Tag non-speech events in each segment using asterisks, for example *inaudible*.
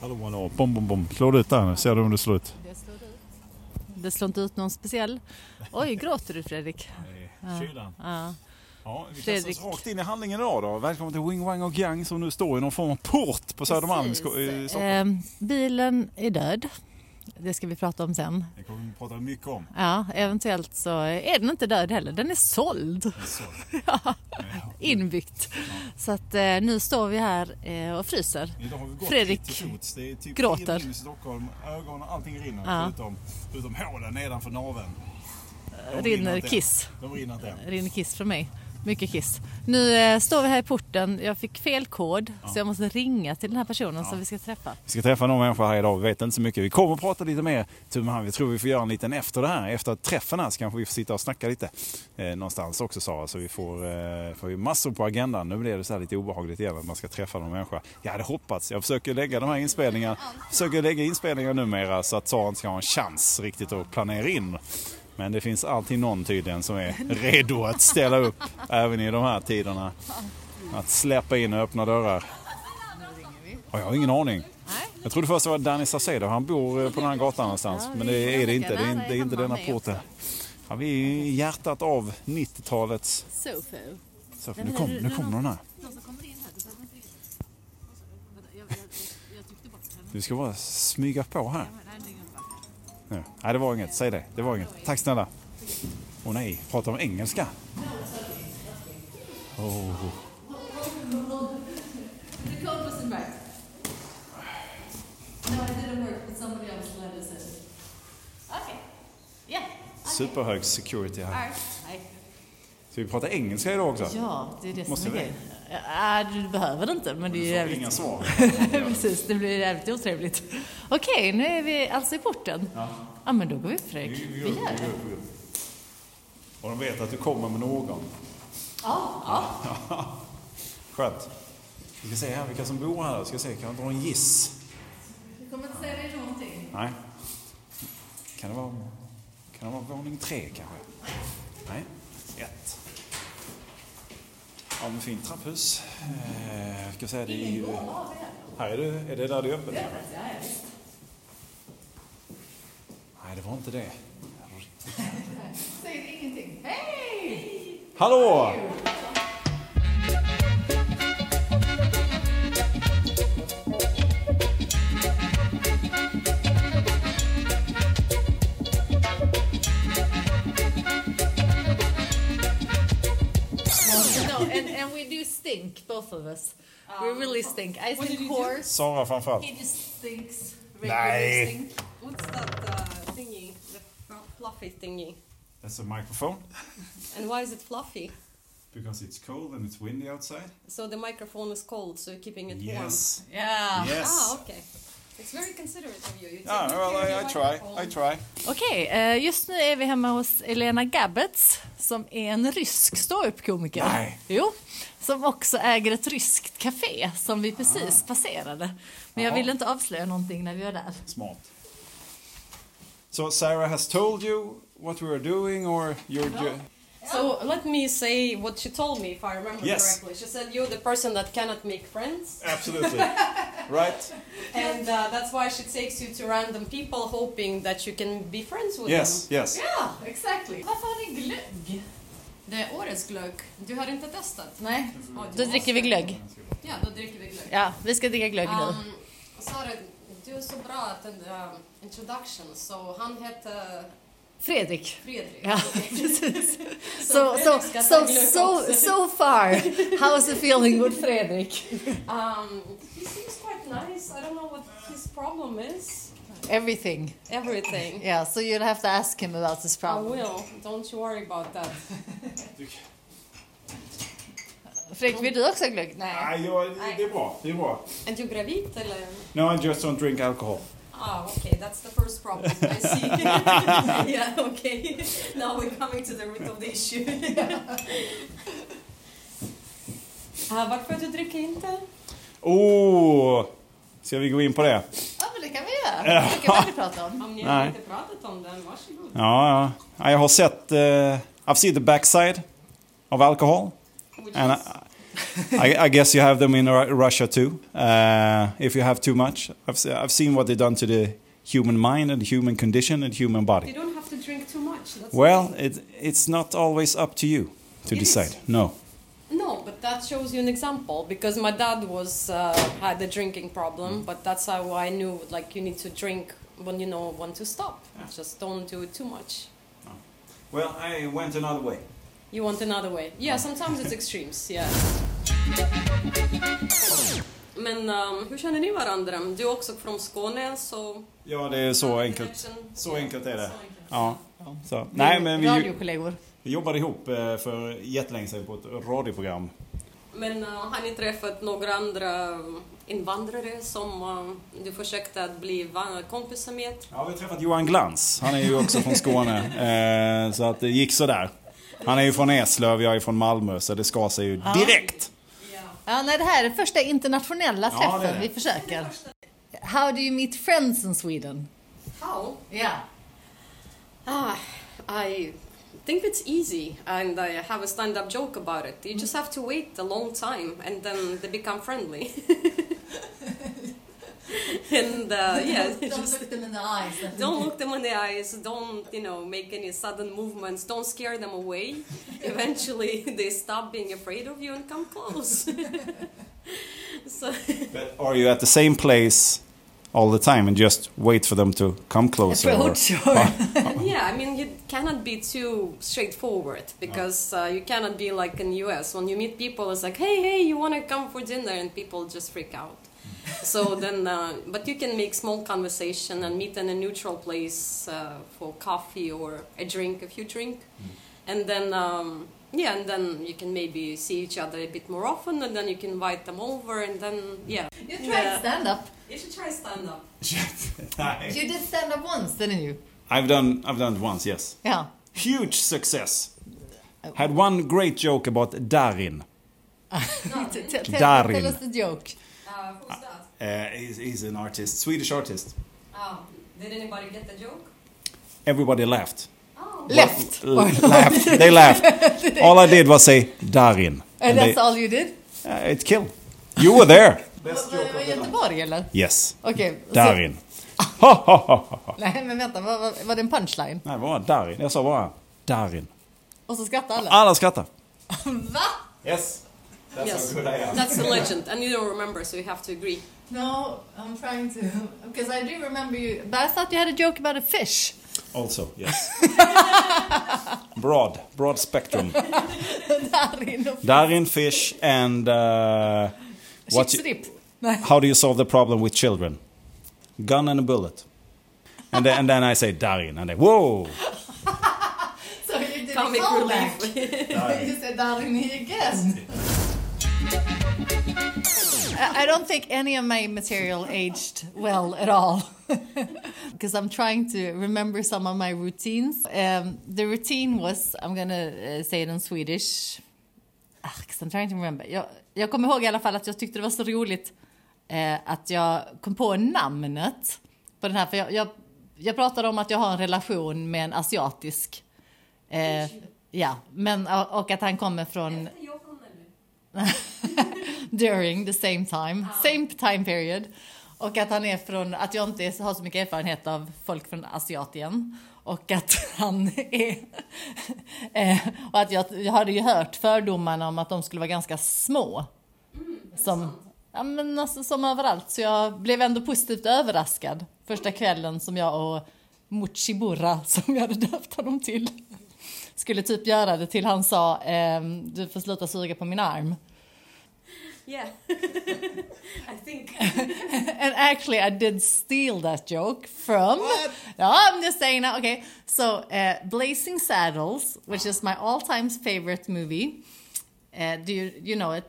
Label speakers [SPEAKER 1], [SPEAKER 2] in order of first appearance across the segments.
[SPEAKER 1] Hallå hallå, bom bom bom. Slå ut där nu, ser du om du slår ut.
[SPEAKER 2] Det slår inte ut någon speciell. Oj, gråter du Fredrik?
[SPEAKER 1] Kylan.
[SPEAKER 2] Ja.
[SPEAKER 1] Ja, vi kastar
[SPEAKER 2] Fredrik.
[SPEAKER 1] oss rakt in i handlingen idag då. Välkommen till Wing Wang och Yang som nu står i någon form av port på Södermalm
[SPEAKER 2] Precis.
[SPEAKER 1] sko- i Stockholm.
[SPEAKER 2] Ehm, bilen är död. Det ska vi prata om sen.
[SPEAKER 1] Det kommer vi prata mycket
[SPEAKER 2] *laughs*
[SPEAKER 1] om.
[SPEAKER 2] Ja, eventuellt så är den inte död heller. Den är såld,
[SPEAKER 1] Så. Eh,
[SPEAKER 2] inbyggt. Så att eh, nu står vi här eh, och fryser.
[SPEAKER 1] Idag har vi gått
[SPEAKER 2] Fredrik
[SPEAKER 1] till fots. Det är typ
[SPEAKER 2] gråter.
[SPEAKER 1] det rinner i Stockholm. Ögonen, allting rinner.
[SPEAKER 2] Ja.
[SPEAKER 1] Förutom, förutom hålen nedanför naveln. De
[SPEAKER 2] Rinner
[SPEAKER 1] inte än.
[SPEAKER 2] kiss.
[SPEAKER 1] De rinner inte än.
[SPEAKER 2] rinner kiss från mig. Mycket kiss. Nu eh, står vi här i porten. Jag fick fel kod så jag måste ringa till den här personen som vi ska träffa.
[SPEAKER 1] Vi ska träffa någon människa här idag, vi vet inte så mycket. Vi kommer att prata lite mer Tumman. Vi tror vi får göra en liten efter det här. Efter träffen här så kanske vi får sitta och snacka lite eh, någonstans också Sara. Så vi får, eh, får ju massor på agendan. Nu blir det så här lite obehagligt igen att man ska träffa någon människa. Jag hade hoppats. Jag försöker lägga de här inspelningarna, försöker lägga inspelningar numera så att Sara inte ska ha en chans riktigt att planera in. Men det finns alltid någon tydligen som är redo att ställa upp även i de här tiderna. Att släppa in och öppna dörrar. Och jag har ingen aning. Jag trodde först det var Danny Saucedo. Han bor eh, på den här gatan någonstans.
[SPEAKER 2] Ja,
[SPEAKER 1] men
[SPEAKER 2] vi
[SPEAKER 1] det är det inte. Det är,
[SPEAKER 2] försöker.
[SPEAKER 1] inte- det
[SPEAKER 2] Nej,
[SPEAKER 1] är inte
[SPEAKER 2] han var
[SPEAKER 1] denna
[SPEAKER 2] med
[SPEAKER 1] porten. Ja, vi är ju i hjärtat av 90-talets...
[SPEAKER 2] Sofo.
[SPEAKER 1] Så, nu kommer nu kom någon här. Du ska bara smyga på här. Nu. Nej, det var inget. Säg det. Det var inget. Tack snälla. Åh nej, prata om engelska.
[SPEAKER 3] The code wasn't right. No, it didn't work, but somebody else let us in. Okay. Yeah.
[SPEAKER 1] Superhög security här.
[SPEAKER 3] Alright. Hi.
[SPEAKER 1] Ska vi prata engelska idag också?
[SPEAKER 2] Ja, det är det
[SPEAKER 1] Måste
[SPEAKER 2] som
[SPEAKER 1] vi?
[SPEAKER 2] är grejen. Ja, du behöver det inte, men det är ju
[SPEAKER 1] Så
[SPEAKER 2] jävligt...
[SPEAKER 1] Inga svar.
[SPEAKER 2] *laughs* Precis, det blir jävligt otrevligt. Okej, nu är vi alltså i porten. Ja. Ja, men då går vi fräck. Vi gör det.
[SPEAKER 1] Och de vet att du kommer med någon.
[SPEAKER 2] Ja, ja.
[SPEAKER 1] *laughs* Skönt. Vi ska se här vilka som bor här. Vi ska se, kan jag dra en giss?
[SPEAKER 3] Du kommer inte säga dig någonting.
[SPEAKER 1] Nej. Kan det vara, kan det vara våning tre kanske? Nej. Ett. Ja, men fint trapphus. Eh, ska jag säga det är ju... Här är det, är det där det är öppet? Nej, det var inte det.
[SPEAKER 3] Säger ingenting. Hej!
[SPEAKER 1] Hallå!
[SPEAKER 2] No, and, and we do stink, both of us. We
[SPEAKER 4] Um,
[SPEAKER 2] really stink. I think horse.
[SPEAKER 1] Sara framförallt.
[SPEAKER 3] He just thinks
[SPEAKER 1] Nej.
[SPEAKER 3] stink.
[SPEAKER 4] What's that uh, thingy? The fl- fluffy thingy.
[SPEAKER 1] That's a microphone.
[SPEAKER 4] And why is it fluffy?
[SPEAKER 1] Because it's cold and it's windy outside.
[SPEAKER 4] So the microphone is cold, so you're keeping it warm.
[SPEAKER 1] Yes.
[SPEAKER 2] Yeah.
[SPEAKER 1] Yes.
[SPEAKER 4] Ah, okay. It's very considerate of you. You take
[SPEAKER 1] Ah,
[SPEAKER 4] good
[SPEAKER 1] well,
[SPEAKER 4] care
[SPEAKER 1] I, I
[SPEAKER 4] of your
[SPEAKER 1] try.
[SPEAKER 4] microphone.
[SPEAKER 1] I try.
[SPEAKER 2] Okej, eh, just nu är vi hemma hos Elena Gabbets som är en rysk ståuppkomiker.
[SPEAKER 1] Nej.
[SPEAKER 2] Jo, som också äger ett ryskt café som vi precis passerade. Men jag
[SPEAKER 1] Jaha.
[SPEAKER 2] ville inte avslöja någonting när vi var där.
[SPEAKER 1] Smart. So Sarah has told you what we are doing, or you're ju-
[SPEAKER 4] So let me say what she told me, if I remember
[SPEAKER 1] Yes.
[SPEAKER 4] correctly. She said you're the person that cannot make friends, *laughs*
[SPEAKER 1] absolutely right.
[SPEAKER 4] and uh, that's why she takes you to random people, hoping that you can be friends with
[SPEAKER 1] Yes,
[SPEAKER 4] them.
[SPEAKER 1] yes.
[SPEAKER 2] Ja, exactly.
[SPEAKER 3] Varför har ni glögg? Det är årets glögg. Du har inte testat?
[SPEAKER 2] Nej,
[SPEAKER 3] Oj,
[SPEAKER 2] då dricker vi glögg.
[SPEAKER 4] Yeah. Ja, då dricker vi glögg.
[SPEAKER 2] Ja, vi ska dricka glögg nu.
[SPEAKER 4] Um, Sara, du är så bra att den um, introduction, så han hette
[SPEAKER 2] Fredrik.
[SPEAKER 4] Fredrik.
[SPEAKER 2] Ja, *laughs* precis. So, so,
[SPEAKER 4] Fredrik ska
[SPEAKER 2] so,
[SPEAKER 4] ta glögg
[SPEAKER 2] so,
[SPEAKER 4] också.
[SPEAKER 2] so
[SPEAKER 4] *laughs*
[SPEAKER 2] far, how's the feeling with Fredrik?
[SPEAKER 4] Um, he seems quite nice. I don't know what his problem is.
[SPEAKER 2] Everything.
[SPEAKER 4] Everything.
[SPEAKER 2] Yeah, so you'll have to ask him about this
[SPEAKER 4] I
[SPEAKER 2] problem.
[SPEAKER 4] will. Don't you worry about that.
[SPEAKER 2] Fredrik, vill du också ha glögg? Nej.
[SPEAKER 1] Nej, jag, det är bra. Det är bra.
[SPEAKER 4] And you gravit eller?
[SPEAKER 1] No, I just don't drink alcohol.
[SPEAKER 4] Ah, okay. That's the first problem. I see. *laughs* yeah. Okay. Now we're coming to the root of
[SPEAKER 2] *laughs*
[SPEAKER 4] the issue. Ah, varför du dricker inte?
[SPEAKER 1] Oh, ska vi gå in på det?
[SPEAKER 2] Ja, men det kan vi göra. Det kan vi prata om.
[SPEAKER 4] Om ni
[SPEAKER 1] Nej.
[SPEAKER 4] har inte pratat om den, varsågod.
[SPEAKER 1] Ja, ja. Nej, Jag har sett. eh, I've seen the backside of alcohol,
[SPEAKER 4] Which
[SPEAKER 1] and I,
[SPEAKER 4] is-
[SPEAKER 1] I, I guess you have them in Ru- Russia too. Uh, if you have too much, I've, se- I've seen what they've done to the human mind and human condition and human
[SPEAKER 4] You
[SPEAKER 1] body.
[SPEAKER 4] don't have to drink too much. That's the
[SPEAKER 1] Well,
[SPEAKER 4] thing.
[SPEAKER 1] it, it's not always up to you to
[SPEAKER 4] It is.
[SPEAKER 1] decide. No.
[SPEAKER 4] no, but that shows you an example because my dad was uh, had a drinking
[SPEAKER 1] Mm.
[SPEAKER 4] problem, but that's how I knew like you need to drink when you know when to stop. Just don't do it too much.
[SPEAKER 1] Well, I went another way.
[SPEAKER 4] You want another way? Yeah, sometimes
[SPEAKER 1] *laughs*
[SPEAKER 4] it's extremes. Yeah. Men um, hur känner ni varandra? Du är också från Skåne, så...
[SPEAKER 1] Ja, det är så enkelt.
[SPEAKER 4] Connection.
[SPEAKER 1] Så enkelt är det.
[SPEAKER 4] Så enkelt.
[SPEAKER 1] Ja. Så. *laughs* Nej, men vi, ju-
[SPEAKER 2] Radiokollegor.
[SPEAKER 1] vi jobbade ihop eh, för jättelänge sedan på ett radioprogram.
[SPEAKER 4] Men uh, har ni träffat några andra um, invandrare som uh, du försökte att bli va- kompisar med?
[SPEAKER 1] Ja, vi har träffat Johan Glans. Han är ju också från Skåne. Eh, så att det gick sådär. Han är ju från Eslöv, jag är från Malmö, så det skar sig ju direkt.
[SPEAKER 2] Ja, nej, det här är första internationella
[SPEAKER 1] Ja, det är
[SPEAKER 2] träffen
[SPEAKER 1] det.
[SPEAKER 2] vi försöker. How do you meet friends in Sweden?
[SPEAKER 4] How?
[SPEAKER 2] Yeah.
[SPEAKER 4] Ah, I think it's easy, and I have a stand-up joke about it. You just have to wait a long time, and then they become friendly. *laughs* and uh,
[SPEAKER 2] *laughs*
[SPEAKER 4] yeah, just
[SPEAKER 2] look them in the eyes.
[SPEAKER 4] don't look them in the eyes. Don't you know make any sudden movements. Don't scare them away. Eventually, they stop being afraid of you and come close. so
[SPEAKER 1] But are you at the same place all the time and just wait for them to come closer?
[SPEAKER 2] Approach or-
[SPEAKER 4] yeah, I mean you cannot be too straightforward because uh, you cannot be like in US when you meet people. It's like hey hey you want to come for dinner and people just freak out. so then, uh, but you can make small conversation and meet in a neutral place uh, for coffee or a drink if you drink, and then um, yeah, and then you can maybe see each other a bit more often, and then you can invite them over, and then yeah,
[SPEAKER 2] You tried
[SPEAKER 4] Yeah.
[SPEAKER 2] stand-up.
[SPEAKER 4] you should try stand up.
[SPEAKER 1] *laughs* Nej.
[SPEAKER 2] You did stand-up once, didn't you?
[SPEAKER 1] I've done, I've done it once, yes.
[SPEAKER 2] Yeah.
[SPEAKER 1] Huge success. Had one great joke about Darin.
[SPEAKER 2] T- t- tell-
[SPEAKER 1] Darin.
[SPEAKER 2] Tell us the joke.
[SPEAKER 4] Uh, who's that?
[SPEAKER 1] Uh, he's, he's an artist, Swedish artist.
[SPEAKER 4] Oh, did anybody get the joke?
[SPEAKER 1] Everybody laughed.
[SPEAKER 4] Oh.
[SPEAKER 2] Left.
[SPEAKER 1] L- laughed. They laughed. All I did was say Darin.
[SPEAKER 2] And
[SPEAKER 1] And
[SPEAKER 2] that's
[SPEAKER 1] they-
[SPEAKER 2] all you did?
[SPEAKER 1] Uh, it killed. You were there.
[SPEAKER 2] Var var Göteborg eller?
[SPEAKER 1] Yes.
[SPEAKER 2] Okej. så-
[SPEAKER 1] Darin. Ha, ha, ha, ha, ha.
[SPEAKER 2] *laughs* Nej men vänta, var, var, var det en punchline?
[SPEAKER 1] Nej, bara Darin. Jag sa bara Darin.
[SPEAKER 2] Och så skrattade alla?
[SPEAKER 1] Alla skrattar.
[SPEAKER 2] Va?
[SPEAKER 1] Yes. That's
[SPEAKER 4] Yes. That's a legend, and you don't remember, so you have to agree.
[SPEAKER 2] No, I'm trying to... Because I do remember you... But I thought you had a joke about a fish. *laughs*
[SPEAKER 1] Also, yes. *laughs* broad. Broad spectrum.
[SPEAKER 2] Darin och
[SPEAKER 1] Darin, fish and... Uh, what you-
[SPEAKER 2] chipsripp. Nej.
[SPEAKER 1] how do you solve the problem with children? Gun and a bullet. And then, and then I say Darin and they, whoa!
[SPEAKER 2] So you did
[SPEAKER 4] Comic
[SPEAKER 2] a callback.
[SPEAKER 4] relief.
[SPEAKER 2] you said Darin again. I I don't think any of my material aged well at all. *laughs* Because I'm trying to remember some of my routines. Um, the routine was, I'm gonna uh, say it in Swedish. Ah, 'cause I'm trying to remember. Jag, jag kommer ihåg i alla fall att jag tyckte det var så roligt eh, att jag kom på namnet på den här. För jag, jag, jag pratade om att jag har en relation med en asiatisk. Eh, ja, men, och och att han kommer från *laughs* during the same time, same time period. Och att han är från, att jag inte är- har så mycket erfarenhet av folk från Asiatien. Och att *laughs* han är... eh, och att jag, jag hade ju hört fördomarna om att de skulle vara ganska små. som, ja, men alltså, som överallt. Så jag blev ändå positivt överraskad första kvällen som jag och Muchibura, *laughs* som jag hade döpt honom till, skulle typ göra det till han sa ehm, du får sluta suga på min arm.
[SPEAKER 4] *laughs*
[SPEAKER 2] *laughs*
[SPEAKER 4] Yeah. *laughs* I *laughs* think.
[SPEAKER 2] And actually I did steal that joke from... *laughs* No, I'm just saying now. Okay, so uh, Blazing Saddles, which is my all-time favorite movie. Uh, do you you know it?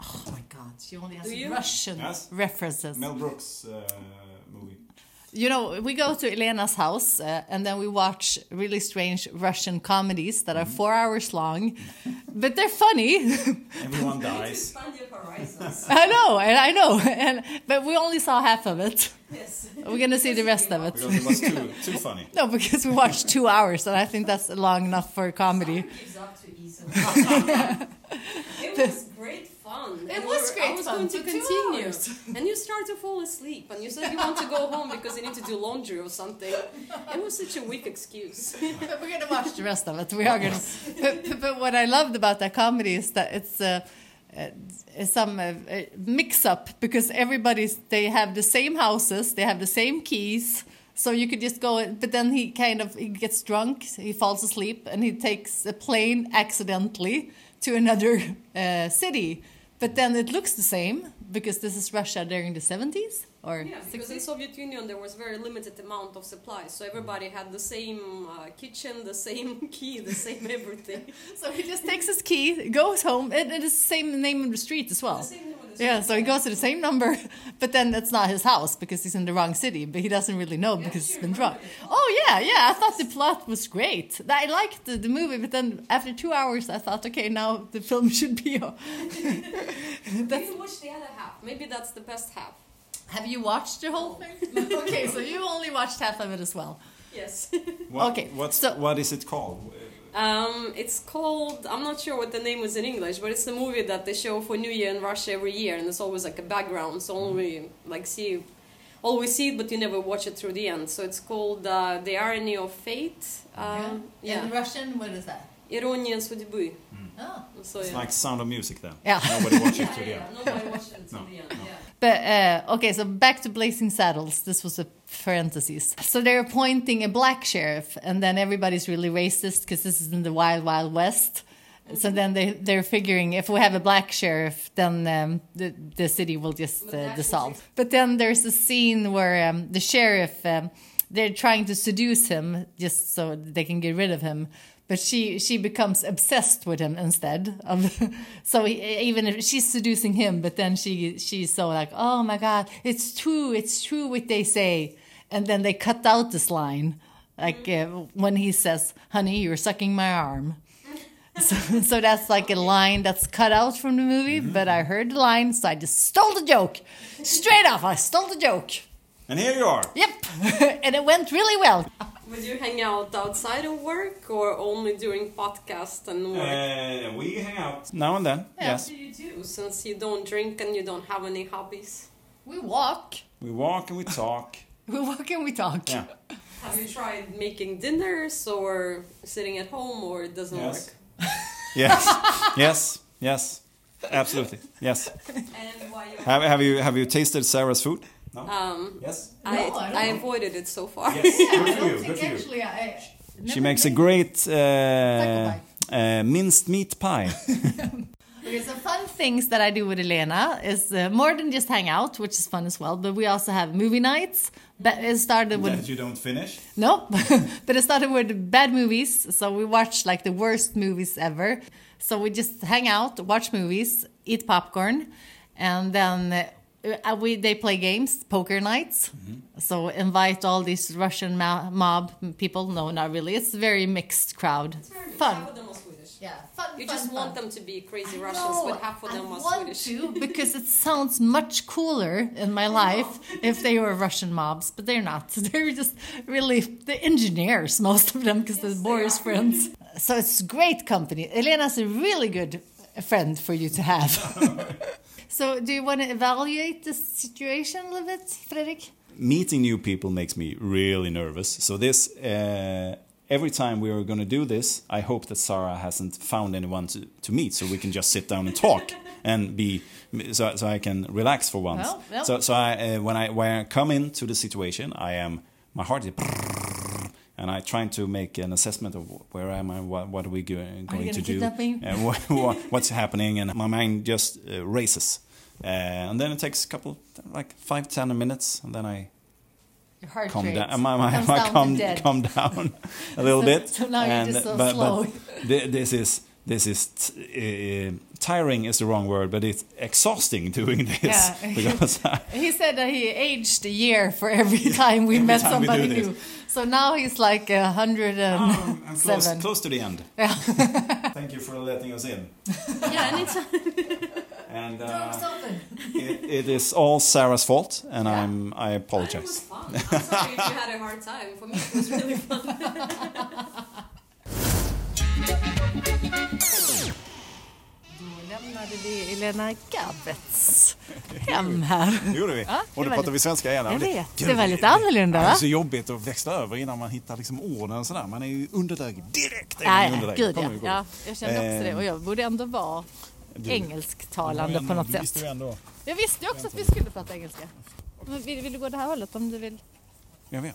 [SPEAKER 2] Oh my God! She only has
[SPEAKER 4] Do you?
[SPEAKER 2] Russian
[SPEAKER 1] Yes.
[SPEAKER 2] references.
[SPEAKER 1] Brooks uh, movie.
[SPEAKER 2] You know, we go to Elena's house uh, and then we watch really strange Russian comedies that are
[SPEAKER 1] Mm-hmm.
[SPEAKER 2] four hours long, but they're funny. *laughs*
[SPEAKER 1] Everyone dies.
[SPEAKER 4] Expand your horizons. *laughs*
[SPEAKER 2] I know, and I know, *laughs* and but we only saw half of it.
[SPEAKER 4] Yes.
[SPEAKER 2] We're gonna see the rest of it.
[SPEAKER 1] Because it was too, too funny.
[SPEAKER 2] No, because we watched two hours, and I think
[SPEAKER 4] *laughs*
[SPEAKER 2] that's long enough for a comedy.
[SPEAKER 4] Gives up too easily. it was great fun.
[SPEAKER 2] It
[SPEAKER 4] And
[SPEAKER 2] was
[SPEAKER 4] we're-
[SPEAKER 2] great
[SPEAKER 4] I was
[SPEAKER 2] fun
[SPEAKER 4] going to
[SPEAKER 2] for two
[SPEAKER 4] continue.
[SPEAKER 2] hours.
[SPEAKER 4] and you start to fall asleep, and you said you want to go home because you need to do laundry or something. It was such a weak excuse.
[SPEAKER 2] But we're gonna watch the rest of it. We are gonna. But, but- but what I loved about that comedy is that it's uh, uh, it's some uh, uh, mix-up because everybody's they have the same houses, they have the same keys, so you could just go. and- But then he kind of he gets drunk, he falls asleep, and he takes a plane accidentally to another uh, city. But then it looks the same because this is Russia during the seventies or
[SPEAKER 4] *laughs* Yeah, because in Soviet Union there was very limited amount of supplies, so everybody had the same uh, kitchen, the same *laughs* key, the same everything.
[SPEAKER 2] *laughs* So he just takes his key, goes home, and it is the same name of the street as well.
[SPEAKER 4] The same number, the
[SPEAKER 2] Yeah,
[SPEAKER 4] same-
[SPEAKER 2] so he goes to the same number, *laughs* but then that's not his house because he's in the wrong city, but he doesn't really know because he's been drunk. Oh, yeah, yeah, I thought the plot was great. I liked the, the movie, but then after two hours, I thought, okay, now the film *laughs* should be. o-
[SPEAKER 4] Maybe watch the other half. Maybe that's the best half.
[SPEAKER 2] Have you watched the whole
[SPEAKER 4] *laughs*
[SPEAKER 2] thing? okay, so you only watched half of it as well.
[SPEAKER 4] Yes.
[SPEAKER 1] What,
[SPEAKER 2] Okay,
[SPEAKER 1] What's,
[SPEAKER 2] so-
[SPEAKER 1] what is it called?
[SPEAKER 4] *laughs* Um, it's called. I'm not sure what the name is in English, but it's the movie that they show for New Year in Russia every year, and it's always like a background, so
[SPEAKER 1] Mm-hmm.
[SPEAKER 4] only like see, always see it, but you never watch it through the end. So it's called uh, "The Irony of Fate." Um, yeah,
[SPEAKER 2] In Russian, what is that?
[SPEAKER 4] Ironia судьбы.
[SPEAKER 2] Oh.
[SPEAKER 4] So
[SPEAKER 1] It's
[SPEAKER 4] yeah.
[SPEAKER 1] like Sound of Music then.
[SPEAKER 2] Yeah.
[SPEAKER 1] Nobody watches it
[SPEAKER 4] yeah,
[SPEAKER 1] till the
[SPEAKER 4] yeah,
[SPEAKER 1] end.
[SPEAKER 4] nobody watched
[SPEAKER 1] *laughs*
[SPEAKER 4] it till
[SPEAKER 1] No,
[SPEAKER 4] the end. Yeah.
[SPEAKER 2] But uh, okay, so back to Blazing Saddles. This was a parenthesis. So they're appointing a black sheriff, and then everybody's really racist because this is in the wild, wild west. So then they they're figuring if we have a black sheriff, then um, the the city will just
[SPEAKER 4] But that
[SPEAKER 2] uh,
[SPEAKER 4] was
[SPEAKER 2] dissolve. But then there's a scene where um, the sheriff um, they're trying to seduce him just so they can get rid of him. But she she becomes obsessed with him instead of *laughs* so he, even if she's seducing him, but then she she's so like oh my god it's true it's true what they say, and then they cut out this line like uh, when he says honey you're sucking my arm. So, *laughs* so that's like a line that's cut out from the movie,
[SPEAKER 1] Mm-hmm.
[SPEAKER 2] but I heard the line, so I just stole the joke. Straight off, I stole the joke.
[SPEAKER 1] And here you are.
[SPEAKER 2] Yep. *laughs* and it went really well.
[SPEAKER 4] Would you hang out outside of work or only during podcast and work?
[SPEAKER 1] Uh, we hang out now and then.
[SPEAKER 4] what
[SPEAKER 1] Yes.
[SPEAKER 4] do you do since you don't drink and you don't have any hobbies?
[SPEAKER 2] We walk.
[SPEAKER 1] We walk and we talk.
[SPEAKER 2] We walk and we talk.
[SPEAKER 1] Yeah.
[SPEAKER 4] Have you tried making dinners or sitting at home or it doesn't
[SPEAKER 1] Yes. *laughs* Yes. yes. Yes. Absolutely. Yes.
[SPEAKER 4] work? And why you-
[SPEAKER 1] Have, have you have you tasted Sarah's food? No.
[SPEAKER 4] Um,
[SPEAKER 2] *laughs*
[SPEAKER 1] yes.
[SPEAKER 4] I,
[SPEAKER 2] No, I
[SPEAKER 4] I,
[SPEAKER 2] don't know.
[SPEAKER 4] avoided it so far.
[SPEAKER 2] I don't think actually uh, I.
[SPEAKER 1] She makes a great uh,
[SPEAKER 2] Taco
[SPEAKER 1] uh, minced meat *laughs* pie.
[SPEAKER 2] Okay, so fun things that I do with Elena is uh, more than just hang out, which is fun as well. But we also have movie nights. But it started with
[SPEAKER 1] you don't finish.
[SPEAKER 2] Nope. *laughs* but it started with bad movies. So we watched like the worst movies ever. So we just hang out, watch movies, eat popcorn, and then uh, we they play games, poker nights. So invite all these Russian mo- mob people. No, not really. It's a very mixed crowd.
[SPEAKER 4] Half
[SPEAKER 2] Fun.
[SPEAKER 4] of them are Swedish.
[SPEAKER 2] Yeah, fun.
[SPEAKER 4] You just want them to be crazy Russians,
[SPEAKER 2] No,
[SPEAKER 4] but half of them
[SPEAKER 2] I
[SPEAKER 4] are
[SPEAKER 2] want
[SPEAKER 4] Swedish.
[SPEAKER 2] to because it sounds much cooler in my life if they were Russian mobs, but they're not. *laughs* They're just really the engineers, most of them, because they're Boris friends. So it's great company. Elena's a really good friend for you to
[SPEAKER 4] *laughs*
[SPEAKER 2] have. so do you want to evaluate the situation a little bit, Fredrik?
[SPEAKER 1] meeting new people makes me really nervous. So this uh, every time we are going to do this, I hope that Sarah hasn't found anyone to, to meet, so we can just sit down and
[SPEAKER 2] *laughs*
[SPEAKER 1] talk and be so, so I can relax for once.
[SPEAKER 2] Well, well.
[SPEAKER 1] So so I, uh, when I when I come into the situation, I am my heart is. And I trying to make an assessment of where am I, what, what are we go- going
[SPEAKER 2] gonna
[SPEAKER 1] to do,
[SPEAKER 2] kidnap me?
[SPEAKER 1] and what, what, what's happening, and my mind just uh, races. Uh, and then it takes a couple, like five, ten minutes, and then I
[SPEAKER 2] Your heart
[SPEAKER 1] calm
[SPEAKER 2] rate
[SPEAKER 1] down. Am I, am I-
[SPEAKER 2] comes
[SPEAKER 1] am I
[SPEAKER 2] down to
[SPEAKER 1] calm,
[SPEAKER 2] dead.
[SPEAKER 1] calm
[SPEAKER 2] *laughs*
[SPEAKER 1] down a little
[SPEAKER 2] So-
[SPEAKER 1] bit?
[SPEAKER 2] so now you're just so slow.
[SPEAKER 1] thi- this is this is t- uh, tiring is the wrong word, but it's exhausting doing this *laughs*
[SPEAKER 2] Yeah. *laughs*
[SPEAKER 1] because I,
[SPEAKER 2] He said that he aged a year for every *laughs* time we met
[SPEAKER 1] time we do
[SPEAKER 2] somebody
[SPEAKER 1] this. Ah.
[SPEAKER 2] new. So now he's like a hundred and
[SPEAKER 1] I'm close,
[SPEAKER 2] seven.
[SPEAKER 1] close to the
[SPEAKER 2] *laughs*
[SPEAKER 1] end. Thank you for letting us in.
[SPEAKER 4] yeah, anytime.
[SPEAKER 1] *laughs* And uh, it, it is all Sarah's fault, and I'm I
[SPEAKER 4] It was
[SPEAKER 1] apologize.
[SPEAKER 4] fun. I'm sorry if you had a hard time. For me, it was really fun.
[SPEAKER 2] lämnade vi Elena Gabbets hem här.
[SPEAKER 1] Det gjorde vi.
[SPEAKER 2] Ja, Ah, det
[SPEAKER 1] och nu
[SPEAKER 2] var
[SPEAKER 1] pratar
[SPEAKER 2] lite-
[SPEAKER 1] vi svenska igen.
[SPEAKER 2] Jag
[SPEAKER 1] Men
[SPEAKER 2] vet,
[SPEAKER 1] Gud,
[SPEAKER 2] det var lite annorlorda,
[SPEAKER 1] Det är
[SPEAKER 2] va?
[SPEAKER 1] så jobbigt att växla över innan man hittar liksom orden och sådär. Man är ju i underläge direkt. är man
[SPEAKER 2] Ja,
[SPEAKER 1] i
[SPEAKER 2] ja,
[SPEAKER 1] underläge.
[SPEAKER 2] gud
[SPEAKER 1] Kommer
[SPEAKER 2] ja.
[SPEAKER 1] ju gå.
[SPEAKER 2] ja. Jag kände också det
[SPEAKER 1] Eh,
[SPEAKER 2] och jag borde ändå vara
[SPEAKER 1] du-
[SPEAKER 2] engelsktalande
[SPEAKER 1] Eh, Men
[SPEAKER 2] på något
[SPEAKER 1] du
[SPEAKER 2] sätt.
[SPEAKER 1] visste ju ändå.
[SPEAKER 2] Jag visste ju också att vi skulle prata engelska. Men vill, vill du gå det här hållet om du vill?
[SPEAKER 1] Jag vet.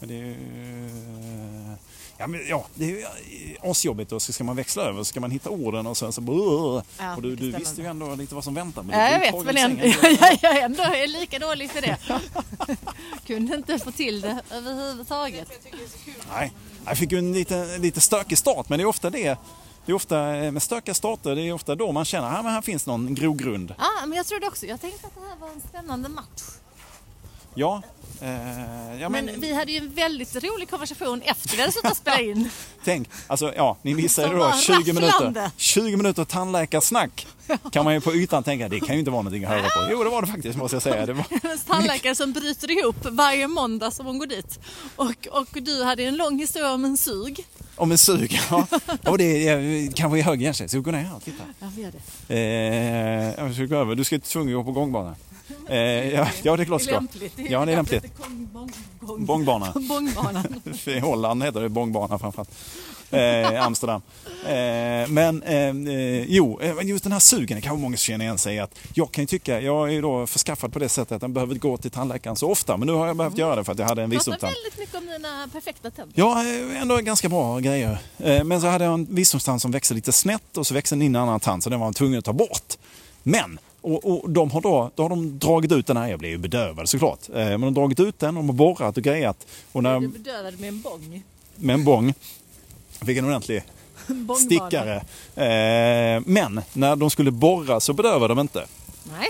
[SPEAKER 1] Men det är ju... eh, Ja, men, ja, det är ju eh, asjobbigt och så ska man växla över så ska man hitta orden och sen så...
[SPEAKER 2] Ja,
[SPEAKER 1] och du, du
[SPEAKER 2] stämmer.
[SPEAKER 1] visste ju ändå lite vad som väntar. men du
[SPEAKER 2] Ja,
[SPEAKER 1] blev
[SPEAKER 2] jag
[SPEAKER 1] tagen
[SPEAKER 2] vet, men
[SPEAKER 1] i
[SPEAKER 2] ändå, *laughs*
[SPEAKER 1] sängen.
[SPEAKER 2] jag, jag, jag ändå är lika dålig för det. *laughs* Kunde inte få till det överhuvudtaget.
[SPEAKER 1] Nej, jag fick ju en lite, lite stökig start, men det är ofta det. Det är ofta eh, med stökiga starter, det är ofta då man känner att här finns någon grogrund.
[SPEAKER 2] Ah, men jag trodde också, jag tänkte att det här var en spännande match.
[SPEAKER 1] Ja, eh, ja men,
[SPEAKER 2] Men vi hade ju en väldigt rolig konversation efter vi hade suttit och spelat in.
[SPEAKER 1] tänk, alltså ja, ni missade
[SPEAKER 2] Som
[SPEAKER 1] då
[SPEAKER 2] var
[SPEAKER 1] 20 minuter,
[SPEAKER 2] rafflande.
[SPEAKER 1] 20 minuter tandläkarsnack. Kan man ju på ytan tänka, det kan ju inte vara någonting att höra på. Jo, det var det faktiskt måste jag säga. Det var,
[SPEAKER 2] En tandläkare som bryter ihop varje måndag som hon går dit. Och, och du hade en lång historia om en sug.
[SPEAKER 1] om en sug, ja. Och det är, kanske är hög hjärnskälsa, så vi går ner här och tittar.
[SPEAKER 2] Ja, vi gör det.
[SPEAKER 1] Eh, jag ska gå över. Du ska inte tvungen att gå på gångbana. Eh, ja, ja, det är klart du
[SPEAKER 2] Det
[SPEAKER 1] ska.
[SPEAKER 2] är lämpligt.
[SPEAKER 1] Ja, det är lämpligt.
[SPEAKER 2] Gång, gång, gång. *laughs*
[SPEAKER 1] Bångbana. *laughs*
[SPEAKER 2] Bångbanan.
[SPEAKER 1] I Holland heter det bångbana framförallt. Eh, Amsterdam. Eh, men eh, eh, jo, eh, men just den här sugen, det kanske många som känner igen sig i att jag kan ju tycka, jag är ju då förskaffad på det sättet att jag behöver inte gå till tandläkaren så ofta, men nu har jag behövt göra det för att jag hade en
[SPEAKER 2] Pratar
[SPEAKER 1] visdomstand.
[SPEAKER 2] väldigt mycket om dina perfekta tänder.
[SPEAKER 1] Ja, eh, ändå ganska bra grejer. Eh, Men så hade jag en visdomstand som växte lite snett och så växte den in i en annan tand så den var man tvungen att ta bort. Men, och, och de har då, då har de dragit ut den här, jag blev ju bedövad såklart, Eh, men de har dragit ut den, de har borrat och grejat. Och när,
[SPEAKER 2] Du bedövade med en bång. *laughs*
[SPEAKER 1] med en bång. Fick en ordentlig
[SPEAKER 2] En bångbana.
[SPEAKER 1] stickare. Eh, men när de skulle borra så bedövade de inte.
[SPEAKER 2] Nej,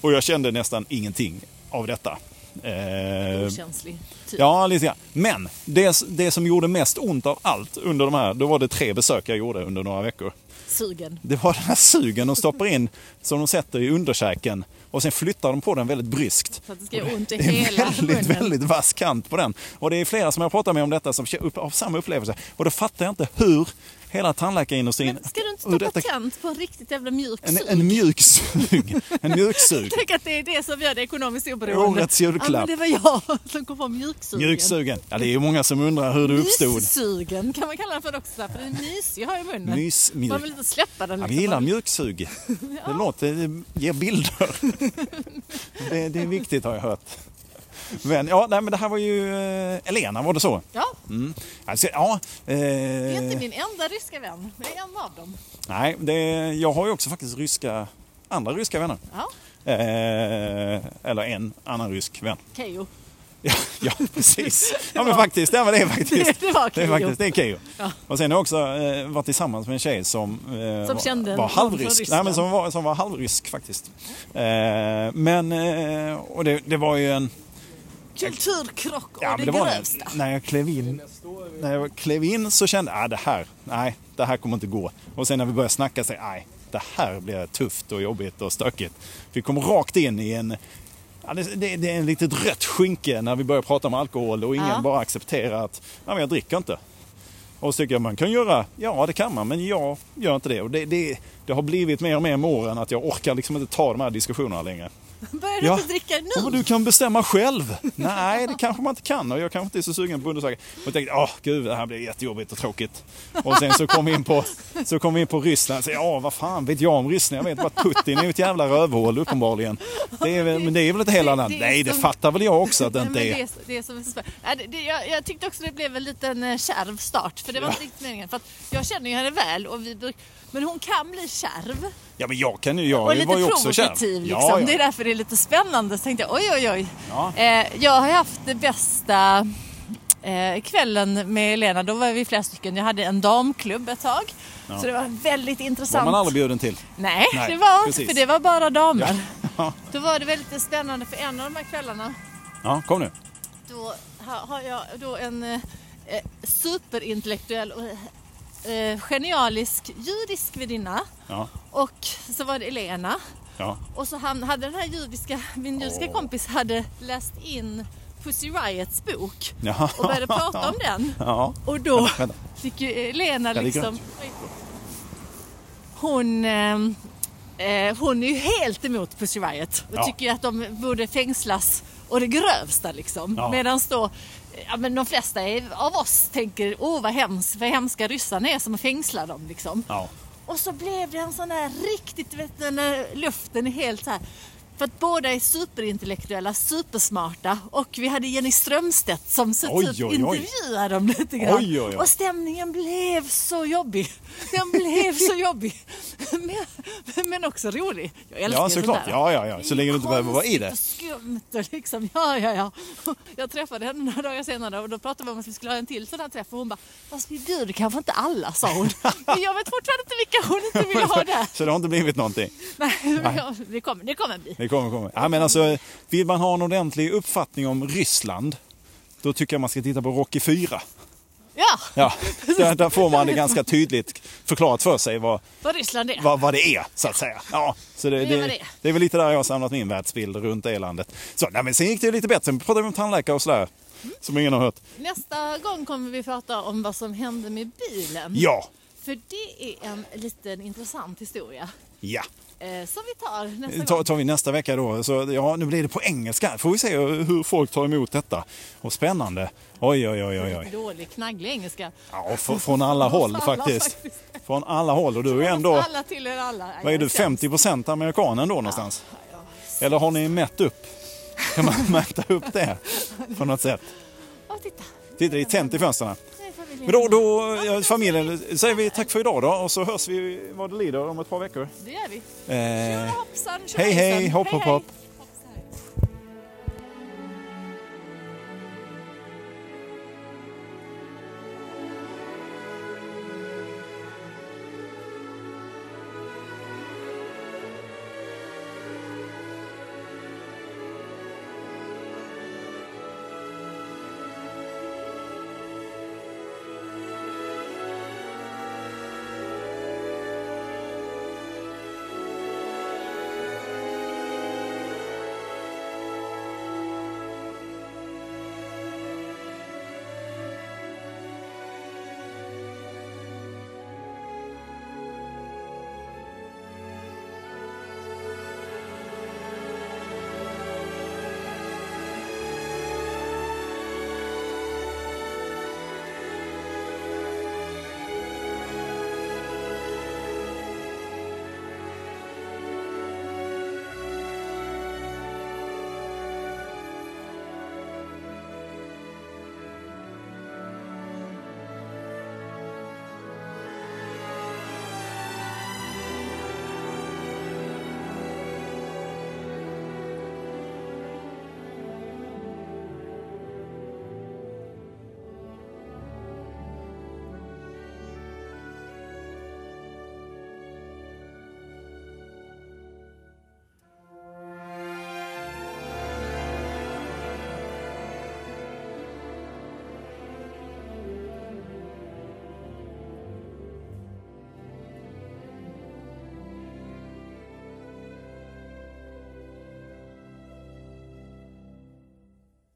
[SPEAKER 1] Och jag kände nästan ingenting av detta. Eh,
[SPEAKER 2] okänslig. Typ.
[SPEAKER 1] ja, lite grann. Men det, det som gjorde mest ont av allt under de här, då var det tre besök jag gjorde under några veckor.
[SPEAKER 2] Sugen.
[SPEAKER 1] Det var den här sugen de stoppar in som de sätter i underkäken och sen flyttar de på den väldigt bryskt.
[SPEAKER 2] Så att det ska göra ont i
[SPEAKER 1] Det är
[SPEAKER 2] hela
[SPEAKER 1] väldigt,
[SPEAKER 2] munnen.
[SPEAKER 1] väldigt vass kant på den. Och det är flera som jag pratar med om detta som kö- upp- har samma upplevelse. Och då fattar jag inte hur hela tandläkarindustrin...
[SPEAKER 2] Men ska du inte
[SPEAKER 1] hur
[SPEAKER 2] stoppa
[SPEAKER 1] detta-
[SPEAKER 2] tänd på en riktigt jävla mjuk
[SPEAKER 1] en,
[SPEAKER 2] sug? *laughs*
[SPEAKER 1] en mjuk sug. En mjuk sug.
[SPEAKER 2] Tänk att det är det som gör det ekonomiskt oberoende.
[SPEAKER 1] Årets julklapp.
[SPEAKER 2] Ja, men det var jag *laughs* som kom på mjuksugen.
[SPEAKER 1] Mjuksugen. Ja, det är ju många som undrar hur det uppstod.
[SPEAKER 2] Myssugen kan man kalla den för också, för den är mysig att ha i munnen.
[SPEAKER 1] Mys, mjuk.
[SPEAKER 2] Man vill inte släppa den.
[SPEAKER 1] Ja, vi
[SPEAKER 2] liksom.
[SPEAKER 1] gillar mjuksug. Det låter, det ger bilder. Det, det är viktigt har jag hört. Men, ja, nej, men det här var ju eh, Elena, var det så?
[SPEAKER 2] Ja,
[SPEAKER 1] Mm. Alltså, ja, eh,
[SPEAKER 2] det är inte min enda ryska vän, men jag är en av dem.
[SPEAKER 1] nej, det, jag har ju också faktiskt ryska, andra ryska vänner.
[SPEAKER 2] Ja,
[SPEAKER 1] Eh, eller en annan rysk vän. *laughs*
[SPEAKER 2] Keyyo.
[SPEAKER 1] Ja, ja precis. Ja men faktiskt, ja, men det är faktiskt.
[SPEAKER 2] *laughs* Det var
[SPEAKER 1] Det är
[SPEAKER 2] Keyyo.
[SPEAKER 1] faktiskt, det är Keyyo.
[SPEAKER 2] Ja.
[SPEAKER 1] Och sen har jag också eh, varit tillsammans med en tjej som, eh,
[SPEAKER 2] Som
[SPEAKER 1] var-
[SPEAKER 2] kände
[SPEAKER 1] var
[SPEAKER 2] någon från
[SPEAKER 1] halvrysk. Nej,
[SPEAKER 2] Ryssland.
[SPEAKER 1] men som, var, som var halvrysk faktiskt. Eh, men, eh, och det, det var ju en...
[SPEAKER 2] Kulturkrock och
[SPEAKER 1] Ja,
[SPEAKER 2] det,
[SPEAKER 1] men det var en,
[SPEAKER 2] grövsta.
[SPEAKER 1] när jag klev in När jag klev in så kände jag, ah, det här, nej, det här kommer inte gå. Och sen när vi började snacka så, nej, det här blir tufft och jobbigt och stökigt. Vi kom rakt in i en, ja, det, det, det är en litet rött skynke när vi börjar prata om alkohol och ingen
[SPEAKER 2] Ja.
[SPEAKER 1] bara accepterar att, nej men jag dricker inte. Och så tycker jag man kan göra, ja det kan man, men jag gör inte det. Och det, det, det har blivit mer och mer med åren att jag orkar liksom inte ta de här diskussionerna längre.
[SPEAKER 2] Börjar du
[SPEAKER 1] Ja.
[SPEAKER 2] inte dricka
[SPEAKER 1] Ja, men
[SPEAKER 2] nu?
[SPEAKER 1] du kan bestämma själv. Nej, det kanske man inte kan och jag kanske inte är så sugen på undersökning. Och jag tänkte, åh gud, det här blir jättejobbigt och tråkigt. Och sen så kom vi in på, så kom vi in på Ryssland. Så, ja, vad fan vet jag om Ryssland? Jag vet bara att Putin är ett jävla rövhål uppenbarligen. Det är, väl- men det är väl ett hela
[SPEAKER 2] Det-
[SPEAKER 1] land?
[SPEAKER 2] det är
[SPEAKER 1] Nej, det
[SPEAKER 2] som-
[SPEAKER 1] fattar väl jag också att det
[SPEAKER 2] Nej, men
[SPEAKER 1] inte
[SPEAKER 2] det
[SPEAKER 1] är.
[SPEAKER 2] är, så- det är som, så- Ja, det, det, jag, jag tyckte också det blev en liten eh, kärv start, för det var
[SPEAKER 1] Ja.
[SPEAKER 2] inte riktigt meningen. För att jag känner ju henne väl, och vi, bruk- men hon kan bli kärv.
[SPEAKER 1] Ja, men jag kan ju, jag
[SPEAKER 2] Och
[SPEAKER 1] var ju
[SPEAKER 2] lite
[SPEAKER 1] också kär.
[SPEAKER 2] provokativ liksom.
[SPEAKER 1] Ja,
[SPEAKER 2] Det
[SPEAKER 1] ja.
[SPEAKER 2] är därför det är lite spännande. Så tänkte jag, oj oj oj.
[SPEAKER 1] Ja.
[SPEAKER 2] Eh, jag har ju haft det bästa eh, kvällen med Elena. Då var vi flera stycken. Jag hade en damklubb ett tag. Så det var väldigt
[SPEAKER 1] Var
[SPEAKER 2] intressant.
[SPEAKER 1] man aldrig bjuden till.
[SPEAKER 2] Nej,
[SPEAKER 1] Nej,
[SPEAKER 2] det var
[SPEAKER 1] precis.
[SPEAKER 2] inte. För det var bara damer.
[SPEAKER 1] Ja.
[SPEAKER 2] Då var det väldigt spännande för en av de här kvällarna
[SPEAKER 1] Ja, kom nu.
[SPEAKER 2] då ha- har jag då en eh, eh, superintellektuell och eh, genialisk judisk värdinna
[SPEAKER 1] Ja,
[SPEAKER 2] och så var det Elena.
[SPEAKER 1] ja.
[SPEAKER 2] Och så han, hade den här judiska, min judiska
[SPEAKER 1] Åh.
[SPEAKER 2] kompis hade läst in Pussy Riots bok
[SPEAKER 1] ja.
[SPEAKER 2] och började prata om den.
[SPEAKER 1] Ja.
[SPEAKER 2] Och då
[SPEAKER 1] Vänta.
[SPEAKER 2] fick ju eh, Lena
[SPEAKER 1] det är
[SPEAKER 2] liksom...
[SPEAKER 1] grönt.
[SPEAKER 2] hon eh, eh, hon är ju helt emot Pussy Riot och
[SPEAKER 1] Ja.
[SPEAKER 2] tycker ju att de borde fängslas och det grövsta liksom.
[SPEAKER 1] Ja.
[SPEAKER 2] Medan då ja, men de flesta är- av oss tänker åh vad hemskt, vad hemska ryssarna är som fängslar dem liksom.
[SPEAKER 1] Ja.
[SPEAKER 2] Och så blev det en sån här riktigt, vet du, när luften är helt så här. För att båda är superintellektuella, supersmarta och vi hade Jenny Strömstedt som så
[SPEAKER 1] Oj,
[SPEAKER 2] typ
[SPEAKER 1] oj, oj.
[SPEAKER 2] intervjuade dem lite grann.
[SPEAKER 1] Oj, oj, oj.
[SPEAKER 2] Och stämningen blev så jobbig. Den blev
[SPEAKER 1] *laughs*
[SPEAKER 2] så jobbig. Men, men också rolig. Jag älskar
[SPEAKER 1] Ja,
[SPEAKER 2] ju sånt
[SPEAKER 1] såklart.
[SPEAKER 2] där.
[SPEAKER 1] Ja, ja, ja. Så länge du inte behöver vara i det.
[SPEAKER 2] Konstigt och Skumt och liksom, ja, ja, ja. Jag träffade henne några dagar senare och då pratade vi om att vi skulle ha en till sån här träff och hon bara, fast vi bjuder kanske inte alla, sa hon. Men jag vet fortfarande inte vilka hon inte ville ha där.
[SPEAKER 1] Så det har inte blivit någonting. *laughs*
[SPEAKER 2] Nej, jag- det kommer, det kommer bli.
[SPEAKER 1] Det kommer, kommer. Ja, men alltså, vill man ha en ordentlig uppfattning om Ryssland, då tycker jag man ska titta på Rocky 4.
[SPEAKER 2] Ja, *laughs*
[SPEAKER 1] Ja, där, där får man det ganska tydligt förklarat för sig vad,
[SPEAKER 2] vad Ryssland är.
[SPEAKER 1] vad, vad det är, så att säga. Ja, så det,
[SPEAKER 2] Det är vad
[SPEAKER 1] det,
[SPEAKER 2] det är.
[SPEAKER 1] det är väl lite där jag har samlat min världsbild runt det landet. Så, nej, men sen gick det ju lite bättre. Sen pratade vi om tandläkare och sådär, som ingen har hört.
[SPEAKER 2] Mm. Nästa gång kommer vi prata om vad som hände med bilen.
[SPEAKER 1] Ja,
[SPEAKER 2] För det är en liten intressant historia
[SPEAKER 1] ja.
[SPEAKER 2] eh, som vi tar nästa
[SPEAKER 1] Ta,
[SPEAKER 2] gång.
[SPEAKER 1] tar vi nästa vecka då. Så, ja, nu blir det på engelska. Får vi se hur folk tar emot detta. Och spännande. Oj, oj, oj, oj. oj.
[SPEAKER 2] Dålig, knagglig engelska.
[SPEAKER 1] Ja, och fr- från alla håll
[SPEAKER 2] alla
[SPEAKER 1] faktiskt.
[SPEAKER 2] faktiskt.
[SPEAKER 1] Från alla håll. Och du är ändå,
[SPEAKER 2] Alla till er alla.
[SPEAKER 1] vad är du, 50 procent amerikan ändå någonstans? Eller har ni mätt upp? Kan man *laughs* mäta upp det på något sätt?
[SPEAKER 2] Åh, titta.
[SPEAKER 1] Titta, det är tänt i fönstren.
[SPEAKER 2] Nej, familjen.
[SPEAKER 1] Men då, då ja, familjen, säger vi tack för idag då och så hörs vi vad det lider om ett par veckor.
[SPEAKER 2] Det gör vi.
[SPEAKER 1] Eh,
[SPEAKER 2] Hoppsan,
[SPEAKER 1] hej, hej,
[SPEAKER 2] tjohejsan.
[SPEAKER 1] hopp, hopp, hopp.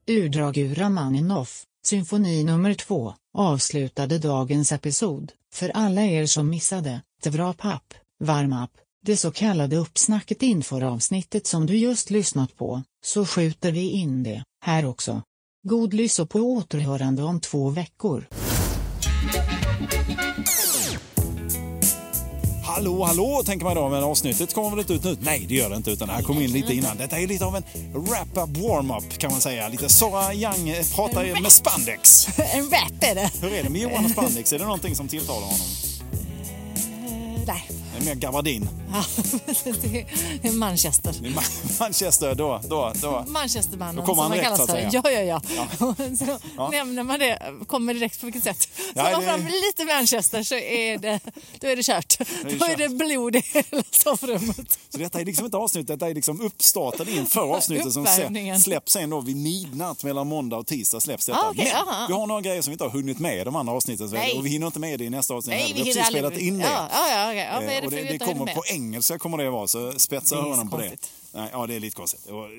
[SPEAKER 5] Urdrag ur Rachmaninoff, symfoni nummer 2, avslutade dagens episod. För alla er som missade, Tevrap-app, Varm-app, det så kallade uppsnacket inför avsnittet som du just lyssnat på, så skjuter vi in det, här också. God lys och på återhörande om två veckor.
[SPEAKER 1] Hallå, hallå, tänker man då, men avsnittet kommer väl inte ut nu? Nej, det gör det inte, utan det här kom in lite innan. Detta är lite av en wrap-up warm-up kan man säga. Lite Sara Young eh, pratar ju med spandex.
[SPEAKER 2] En rap är det.
[SPEAKER 1] Hur är det med Johan och spandex? Är det någonting som tilltalar honom?
[SPEAKER 2] Nej,
[SPEAKER 1] Det är mer gabardin.
[SPEAKER 2] ja, *laughs* det är Manchester.
[SPEAKER 1] Det är Ma- *laughs* Manchester, då, då, då. Då
[SPEAKER 2] Manchestermannen
[SPEAKER 1] kommer han
[SPEAKER 2] som han
[SPEAKER 1] direkt,
[SPEAKER 2] kallas
[SPEAKER 1] så
[SPEAKER 2] för.
[SPEAKER 1] att
[SPEAKER 2] Ja, ja, ja. *laughs* Så Nämner man det, kommer direkt på vilket sätt. Så
[SPEAKER 1] Ja,
[SPEAKER 2] man
[SPEAKER 1] det-
[SPEAKER 2] fram lite Manchester så är det, då är det kört.
[SPEAKER 1] är
[SPEAKER 2] Då är det
[SPEAKER 1] kört.
[SPEAKER 2] blod i hela sovrummet.
[SPEAKER 1] Så detta är liksom inte avsnittet, detta är liksom uppstarten inför avsnittet som
[SPEAKER 2] Uppvärmningen.
[SPEAKER 1] se- släpps sen då vid midnatt mellan måndag och tisdag släpps detta.
[SPEAKER 2] Ah, okej, aha.
[SPEAKER 1] Men vi har några grejer som vi inte har hunnit med i de andra avsnitten
[SPEAKER 2] Nej.
[SPEAKER 1] och vi hinner inte med det i nästa avsnitt
[SPEAKER 2] Nej,
[SPEAKER 1] heller.
[SPEAKER 2] vi
[SPEAKER 1] har
[SPEAKER 2] hinner
[SPEAKER 1] precis
[SPEAKER 2] aldrig-
[SPEAKER 1] spelat in det. Eh,
[SPEAKER 2] Ja, ja, ja, ja. Vad är det
[SPEAKER 1] och
[SPEAKER 2] för
[SPEAKER 1] det,
[SPEAKER 2] vi
[SPEAKER 1] det
[SPEAKER 2] inte har
[SPEAKER 1] kommer
[SPEAKER 2] med?
[SPEAKER 1] på engelska kommer det vara, så spetsa
[SPEAKER 2] Det är så
[SPEAKER 1] öronen på det.
[SPEAKER 2] konstigt.
[SPEAKER 1] Nej, ja, det är lite konstigt. Och, eh,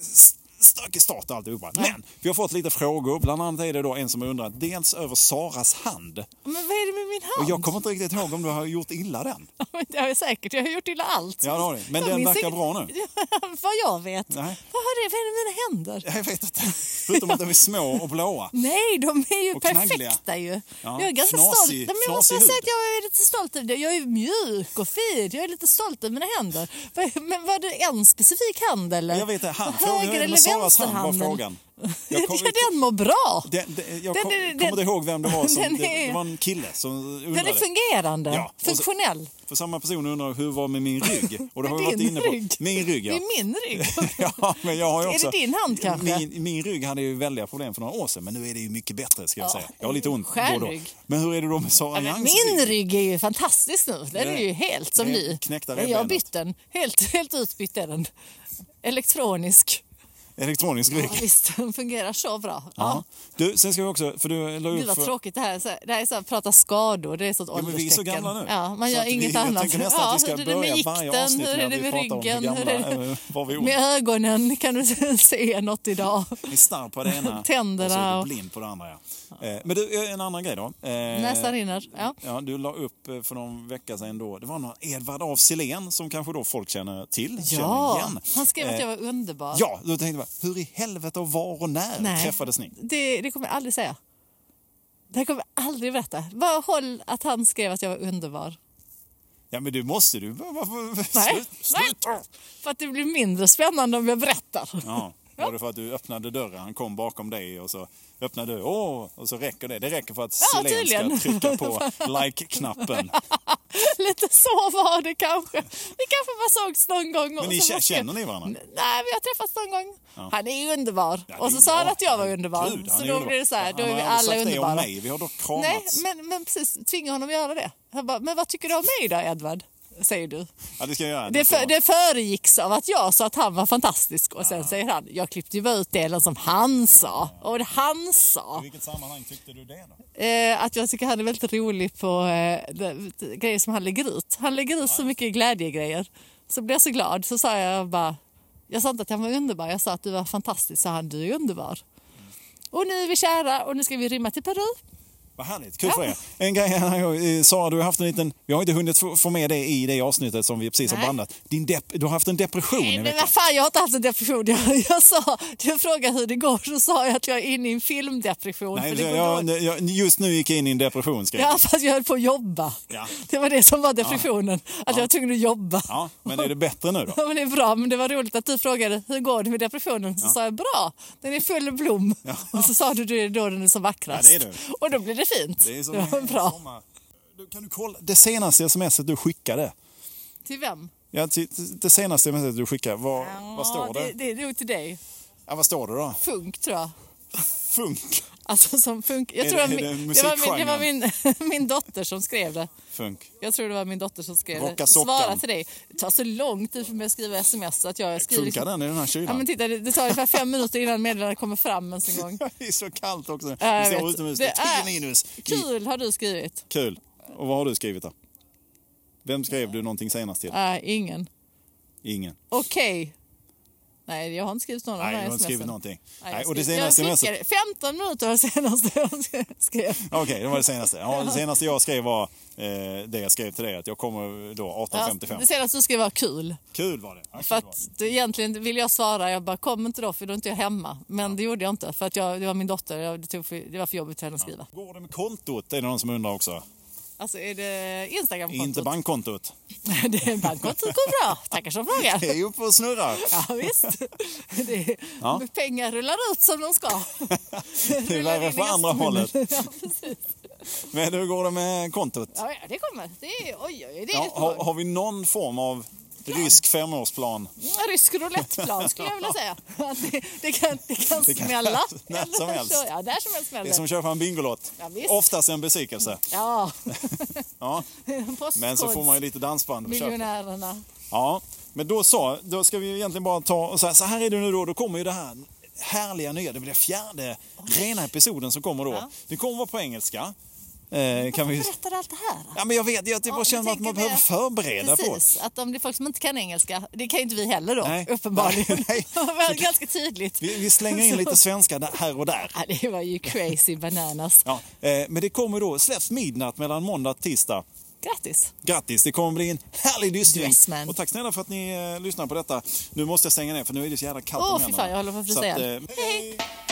[SPEAKER 1] s- stökig start och alltihopa. Men vi har fått lite frågor. Bland annat är det då en som undrar dels över Saras hand.
[SPEAKER 2] Men vad är det med min
[SPEAKER 1] Och
[SPEAKER 2] hand?
[SPEAKER 1] jag kommer inte riktigt ihåg om du har gjort illa den.
[SPEAKER 2] *laughs* Det har jag säkert. Jag har gjort illa allt.
[SPEAKER 1] Ja, det har du. Men
[SPEAKER 2] Jag
[SPEAKER 1] den
[SPEAKER 2] minns
[SPEAKER 1] verkar
[SPEAKER 2] inte-
[SPEAKER 1] bra nu.
[SPEAKER 2] *laughs* Vad jag vet.
[SPEAKER 1] Nej.
[SPEAKER 2] Vad har det? Vad är det med mina händer?
[SPEAKER 1] Jag vet inte. Förutom att de är små och blåa.
[SPEAKER 2] Nej, de är ju
[SPEAKER 1] Och knaggliga.
[SPEAKER 2] perfekta ju.
[SPEAKER 1] Ja,
[SPEAKER 2] Jag är ganska
[SPEAKER 1] fnasig-
[SPEAKER 2] stolt. Nej, Men jag måste
[SPEAKER 1] fnasig
[SPEAKER 2] säga
[SPEAKER 1] hud.
[SPEAKER 2] att jag är lite stolt över det. Jag är ju mjuk och fin. Jag är lite stolt över mina händer. Vad- Men var det en specifik hand eller?
[SPEAKER 1] Jag vet inte, hand.
[SPEAKER 2] Var
[SPEAKER 1] Frågan
[SPEAKER 2] Höger
[SPEAKER 1] är
[SPEAKER 2] eller
[SPEAKER 1] med Saras hand var
[SPEAKER 2] vänsterhanden?
[SPEAKER 1] frågan.
[SPEAKER 2] *laughs*
[SPEAKER 1] Jag kom-
[SPEAKER 2] Ja, den mår bra.
[SPEAKER 1] Den, den, jag
[SPEAKER 2] Den
[SPEAKER 1] kom,
[SPEAKER 2] är- den-
[SPEAKER 1] kommer inte ihåg vem det var. Som,
[SPEAKER 2] *laughs* den
[SPEAKER 1] det,
[SPEAKER 2] är-
[SPEAKER 1] det var en kille som undrade.
[SPEAKER 2] Den är fungerande.
[SPEAKER 1] Ja, och så-
[SPEAKER 2] Funktionell.
[SPEAKER 1] För samma person undrar hur var med min rygg? Och det har vi
[SPEAKER 2] Med
[SPEAKER 1] varit
[SPEAKER 2] *laughs* din
[SPEAKER 1] inne på.
[SPEAKER 2] rygg?
[SPEAKER 1] Min rygg,
[SPEAKER 2] Det
[SPEAKER 1] ja.
[SPEAKER 2] är min rygg.
[SPEAKER 1] *laughs* ja men jag har ju
[SPEAKER 2] Är
[SPEAKER 1] också,
[SPEAKER 2] det din hand kanske?
[SPEAKER 1] Min, min rygg hade ju väldiga problem för några år sedan, men nu är det ju mycket bättre ska jag
[SPEAKER 2] Ja,
[SPEAKER 1] säga. Jag har lite ont då och då.
[SPEAKER 2] skärrygg.
[SPEAKER 1] Men hur är det då med Sara
[SPEAKER 2] Ja, men
[SPEAKER 1] Youngs
[SPEAKER 2] min rygg är ju fantastisk nu. Den är
[SPEAKER 1] Det-
[SPEAKER 2] ju helt som
[SPEAKER 1] det
[SPEAKER 2] ny.
[SPEAKER 1] knäckta
[SPEAKER 2] Men Jag har
[SPEAKER 1] revbenet.
[SPEAKER 2] bytt den. Helt, helt utbytt är den. Elektronisk.
[SPEAKER 1] Elektronisk rygg.
[SPEAKER 2] Ja, visst, den fungerar så bra. Ja.
[SPEAKER 1] Ja. Du, sen ska vi också, för du la
[SPEAKER 2] Gud
[SPEAKER 1] upp...
[SPEAKER 2] vad
[SPEAKER 1] För,
[SPEAKER 2] tråkigt det här är. Så här- Det här är så här, prata skador, det är sånt
[SPEAKER 1] Ja, men vi är så
[SPEAKER 2] ålderstecken.
[SPEAKER 1] gamla nu.
[SPEAKER 2] Ja, man
[SPEAKER 1] Så
[SPEAKER 2] gör
[SPEAKER 1] att vi-
[SPEAKER 2] inget
[SPEAKER 1] jag
[SPEAKER 2] annat.
[SPEAKER 1] tänker nästan att vi
[SPEAKER 2] hur
[SPEAKER 1] ska
[SPEAKER 2] är det med
[SPEAKER 1] börja varje
[SPEAKER 2] vikten?
[SPEAKER 1] avsnitt
[SPEAKER 2] Hur
[SPEAKER 1] med
[SPEAKER 2] är
[SPEAKER 1] att
[SPEAKER 2] det
[SPEAKER 1] vi
[SPEAKER 2] med
[SPEAKER 1] pratar om hur
[SPEAKER 2] ryggen? Hur är
[SPEAKER 1] gamla
[SPEAKER 2] det?
[SPEAKER 1] eh, var vi
[SPEAKER 2] Med
[SPEAKER 1] är.
[SPEAKER 2] ögonen, *laughs* kan du se något idag?
[SPEAKER 1] Vi starr på det ena och så
[SPEAKER 2] *laughs* Tänderna
[SPEAKER 1] är du
[SPEAKER 2] och-
[SPEAKER 1] blind på det andra. Ja. Eh, Men du, eh, en annan grej då. Eh,
[SPEAKER 2] Näsan rinner. Ja.
[SPEAKER 1] Ja, du la upp eh, för någon vecka sedan då, det var någon Edvard af Sillén som kanske då folk känner till, känner
[SPEAKER 2] ja,
[SPEAKER 1] igen.
[SPEAKER 2] han skrev att
[SPEAKER 1] Eh,
[SPEAKER 2] jag var underbar.
[SPEAKER 1] Ja, då tänkte jag, hur i helvete och var och när
[SPEAKER 2] Nej.
[SPEAKER 1] träffades ni?
[SPEAKER 2] Det, det kommer jag aldrig säga. Det här kommer jag aldrig berätta. Bara håll att han skrev att jag var underbar.
[SPEAKER 1] Ja, men du måste du. Varför?
[SPEAKER 2] Nej.
[SPEAKER 1] Slut- Sluta!
[SPEAKER 2] För att det blir mindre spännande om jag berättar.
[SPEAKER 1] Ja, var det för att du öppnade dörren, han kom bakom dig och så öppnade du, åh, och så räcker det. Det räcker för att
[SPEAKER 2] Ja,
[SPEAKER 1] Sillén
[SPEAKER 2] tydligen.
[SPEAKER 1] ska trycka
[SPEAKER 2] *laughs*
[SPEAKER 1] på like-knappen.
[SPEAKER 2] *laughs* Lite så var det kanske. Vi kanske bara sågs någon gång.
[SPEAKER 1] Men ni
[SPEAKER 2] så
[SPEAKER 1] kä-
[SPEAKER 2] bara skrev-
[SPEAKER 1] känner ni varandra?
[SPEAKER 2] Nej, vi har träffats någon gång. Han är ju underbar.
[SPEAKER 1] Ja, det
[SPEAKER 2] och
[SPEAKER 1] är
[SPEAKER 2] så sa han
[SPEAKER 1] bra.
[SPEAKER 2] att jag var underbar.
[SPEAKER 1] Gud, han
[SPEAKER 2] så
[SPEAKER 1] är
[SPEAKER 2] då
[SPEAKER 1] underbar.
[SPEAKER 2] blir det så här, då
[SPEAKER 1] Han
[SPEAKER 2] är
[SPEAKER 1] har
[SPEAKER 2] vi
[SPEAKER 1] aldrig
[SPEAKER 2] alla
[SPEAKER 1] sagt
[SPEAKER 2] underbara.
[SPEAKER 1] det om mig, vi har dock kramats.
[SPEAKER 2] Nej, men, men precis. Tvinga honom att göra det. Han bara, men vad tycker du om mig då, Edvard? Säger du.
[SPEAKER 1] Ja, det ska jag göra.
[SPEAKER 2] Det, för, det föregicks av att jag sa att han var fantastisk och sen säger han, jag klippte ju bara ut delen som han sa. Och det han
[SPEAKER 1] I
[SPEAKER 2] sa,
[SPEAKER 1] vilket sammanhang tyckte du det då?
[SPEAKER 2] eh, att jag tycker han är väldigt rolig på eh, de- de grejer som han lägger ut. Han lägger ut så mycket glädjegrejer. Så blev jag så glad, så sa jag bara, jag sa inte att han var underbar, jag sa att du var fantastisk, sa han, du är underbar.
[SPEAKER 1] Mm.
[SPEAKER 2] Och nu är vi kära och nu ska vi rymma till Peru.
[SPEAKER 1] Vad härligt, kul för er. En grej, eh, Sara, du har haft en liten, vi har inte hunnit få få med det i det avsnittet som vi precis har
[SPEAKER 2] Nej.
[SPEAKER 1] bandat. Din depp, du har haft en depression i
[SPEAKER 2] Nej, men
[SPEAKER 1] veckan.
[SPEAKER 2] vad fan, jag har inte haft en depression. *laughs* Jag, jag sa, du frågade hur det går, så sa jag att jag är inne i en filmdepression.
[SPEAKER 1] Nej,
[SPEAKER 2] för det
[SPEAKER 1] jag,
[SPEAKER 2] går dåligt.
[SPEAKER 1] jag, jag, just nu gick jag in i en depression. Skrev. jag.
[SPEAKER 2] Ja, fast jag höll på att jobba.
[SPEAKER 1] Ja.
[SPEAKER 2] Det var det som var depressionen, att jag var tvungen att jobba.
[SPEAKER 1] ja, men är det bättre nu då?
[SPEAKER 2] Ja, men det är bra, men det var roligt att du frågade hur går det med depressionen? Så sa jag bra, den är full blom. Och så sa du det är då den är som vackrast.
[SPEAKER 1] Ja, det är det.
[SPEAKER 2] Och då blir det fint.
[SPEAKER 1] Det är som
[SPEAKER 2] var
[SPEAKER 1] en
[SPEAKER 2] bra.
[SPEAKER 1] sommar. Du, kan du kolla det senaste smset du skickade?
[SPEAKER 2] Till vem?
[SPEAKER 1] Ja, till- till- det senaste smset du skickade, vad, vad står det?
[SPEAKER 2] Det, det är nog till dig.
[SPEAKER 1] Ja, vad står det då?
[SPEAKER 2] Funk tror jag.
[SPEAKER 1] Funk.
[SPEAKER 2] Alltså som funk. Jag
[SPEAKER 1] Är
[SPEAKER 2] tror
[SPEAKER 1] det-
[SPEAKER 2] att
[SPEAKER 1] är
[SPEAKER 2] min,
[SPEAKER 1] det
[SPEAKER 2] det var, min, det var min, *laughs* min dotter som skrev det.
[SPEAKER 1] Funk.
[SPEAKER 2] Jag tror det var min dotter som skrev
[SPEAKER 1] Rocka
[SPEAKER 2] det.
[SPEAKER 1] sockan.
[SPEAKER 2] Svara till dig. Det tar så lång tid för mig att skriva sms så att jag skriver...
[SPEAKER 1] Funkar den i den här kylan?
[SPEAKER 2] Ja, men titta, det det tar ungefär fem minuter innan meddelandet kommer fram ens en gång.
[SPEAKER 1] *laughs* det är så kallt också. Vi
[SPEAKER 2] jag
[SPEAKER 1] står
[SPEAKER 2] vet.
[SPEAKER 1] utomhus, det
[SPEAKER 2] Det
[SPEAKER 1] är
[SPEAKER 2] är
[SPEAKER 1] 10 minus. I-
[SPEAKER 2] Kul har du skrivit.
[SPEAKER 1] Kul. Och vad har du skrivit då? Vem skrev du någonting senast till?
[SPEAKER 2] Nej, Äh, ingen.
[SPEAKER 1] Ingen.
[SPEAKER 2] Okej. Nej, jag har inte skrivit någon av
[SPEAKER 1] Nej,
[SPEAKER 2] de
[SPEAKER 1] du
[SPEAKER 2] här
[SPEAKER 1] har inte skrivit
[SPEAKER 2] sms'en.
[SPEAKER 1] någonting.
[SPEAKER 2] Nej,
[SPEAKER 1] Nej,
[SPEAKER 2] jag
[SPEAKER 1] och det
[SPEAKER 2] skrev-
[SPEAKER 1] senaste
[SPEAKER 2] jag
[SPEAKER 1] smset
[SPEAKER 2] skickade 15 minuter var det senaste jag skrev.
[SPEAKER 1] Okej, det var det senaste. Ja, det senaste jag skrev var eh, det jag skrev till dig, att jag kommer då
[SPEAKER 2] Ja,
[SPEAKER 1] 18.55.
[SPEAKER 2] Det senaste du skrev var kul.
[SPEAKER 1] Kul var det. Ja, kul
[SPEAKER 2] För
[SPEAKER 1] var
[SPEAKER 2] att det, egentligen ville jag svara, jag bara kom inte då för då är inte jag hemma. Men det gjorde jag inte för att jag, det var min dotter, jag, det, tog för, det var för jobbigt för henne att skriva.
[SPEAKER 1] det. Går det med kontot? Är det någon som undrar också.
[SPEAKER 2] Alltså är det Instagramkontot?
[SPEAKER 1] Inte bankkontot.
[SPEAKER 2] *laughs* det är bankkontot går bra, tackar som frågar.
[SPEAKER 1] Det är ju uppe och snurrar. *laughs*
[SPEAKER 2] Ja visst, det är,
[SPEAKER 1] Ja.
[SPEAKER 2] pengar rullar ut som de ska.
[SPEAKER 1] Det är
[SPEAKER 2] Rullar
[SPEAKER 1] värre
[SPEAKER 2] in i
[SPEAKER 1] för andra hållet.
[SPEAKER 2] *laughs* Ja, precis.
[SPEAKER 1] Men hur går det med kontot?
[SPEAKER 2] Ja, ja, det kommer. Det är, oj, oj, det är
[SPEAKER 1] Ja,
[SPEAKER 2] ett
[SPEAKER 1] har,
[SPEAKER 2] mål.
[SPEAKER 1] har vi någon form av rysk femårsplan?
[SPEAKER 2] Mm, Rysk rouletteplan skulle jag
[SPEAKER 1] *laughs*
[SPEAKER 2] vilja säga. Att Det, det, kan, det kan
[SPEAKER 1] Det kan-
[SPEAKER 2] smälla.
[SPEAKER 1] *laughs* när som
[SPEAKER 2] Eller
[SPEAKER 1] helst.
[SPEAKER 2] så- Ja, där som helst
[SPEAKER 1] Det
[SPEAKER 2] smäller
[SPEAKER 1] är som att köpa en Bingolott.
[SPEAKER 2] Ja, visst.
[SPEAKER 1] Oftast en besvikelse.
[SPEAKER 2] Ja, *laughs*
[SPEAKER 1] Ja. Men så får man ju
[SPEAKER 2] postkodsmiljonärerna.
[SPEAKER 1] lite dansband på köpet. Ja, men då så, då ska vi egentligen bara ta och så här, så här är det nu då, då kommer ju det här härliga nya, det blir fjärde rena episoden som kommer då. Det kommer vara på engelska. Eh, kan vi...
[SPEAKER 2] Berättar du allt det här?
[SPEAKER 1] Ja, men jag vet, jag typ bara
[SPEAKER 2] Ja,
[SPEAKER 1] känner
[SPEAKER 2] jag
[SPEAKER 1] att man
[SPEAKER 2] tänker
[SPEAKER 1] behöver
[SPEAKER 2] det.
[SPEAKER 1] förbereda på.
[SPEAKER 2] Precis, att om det är folk som inte kan engelska, det kan ju inte vi heller då,
[SPEAKER 1] Nej.
[SPEAKER 2] uppenbarligen.
[SPEAKER 1] *laughs*
[SPEAKER 2] *laughs*
[SPEAKER 1] Nej.
[SPEAKER 2] Det var ganska tydligt.
[SPEAKER 1] Vi, vi slänger in lite svenska där- här och där.
[SPEAKER 2] Ja, det var ju crazy bananas.
[SPEAKER 1] Ja, eh, men det kommer då, släpps midnatt mellan måndag och tisdag.
[SPEAKER 2] Grattis!
[SPEAKER 1] Grattis, det kommer bli en härlig lyssning.
[SPEAKER 2] Yes, man.
[SPEAKER 1] och tack snälla för att ni eh, lyssnar på detta. Nu måste jag stänga ner för nu är det så jävla kallt
[SPEAKER 2] Åh,
[SPEAKER 1] om
[SPEAKER 2] fy
[SPEAKER 1] händerna.
[SPEAKER 2] fan, jag håller på att frysa
[SPEAKER 1] Så att,
[SPEAKER 2] ihjäl.
[SPEAKER 1] eh, hej, hej.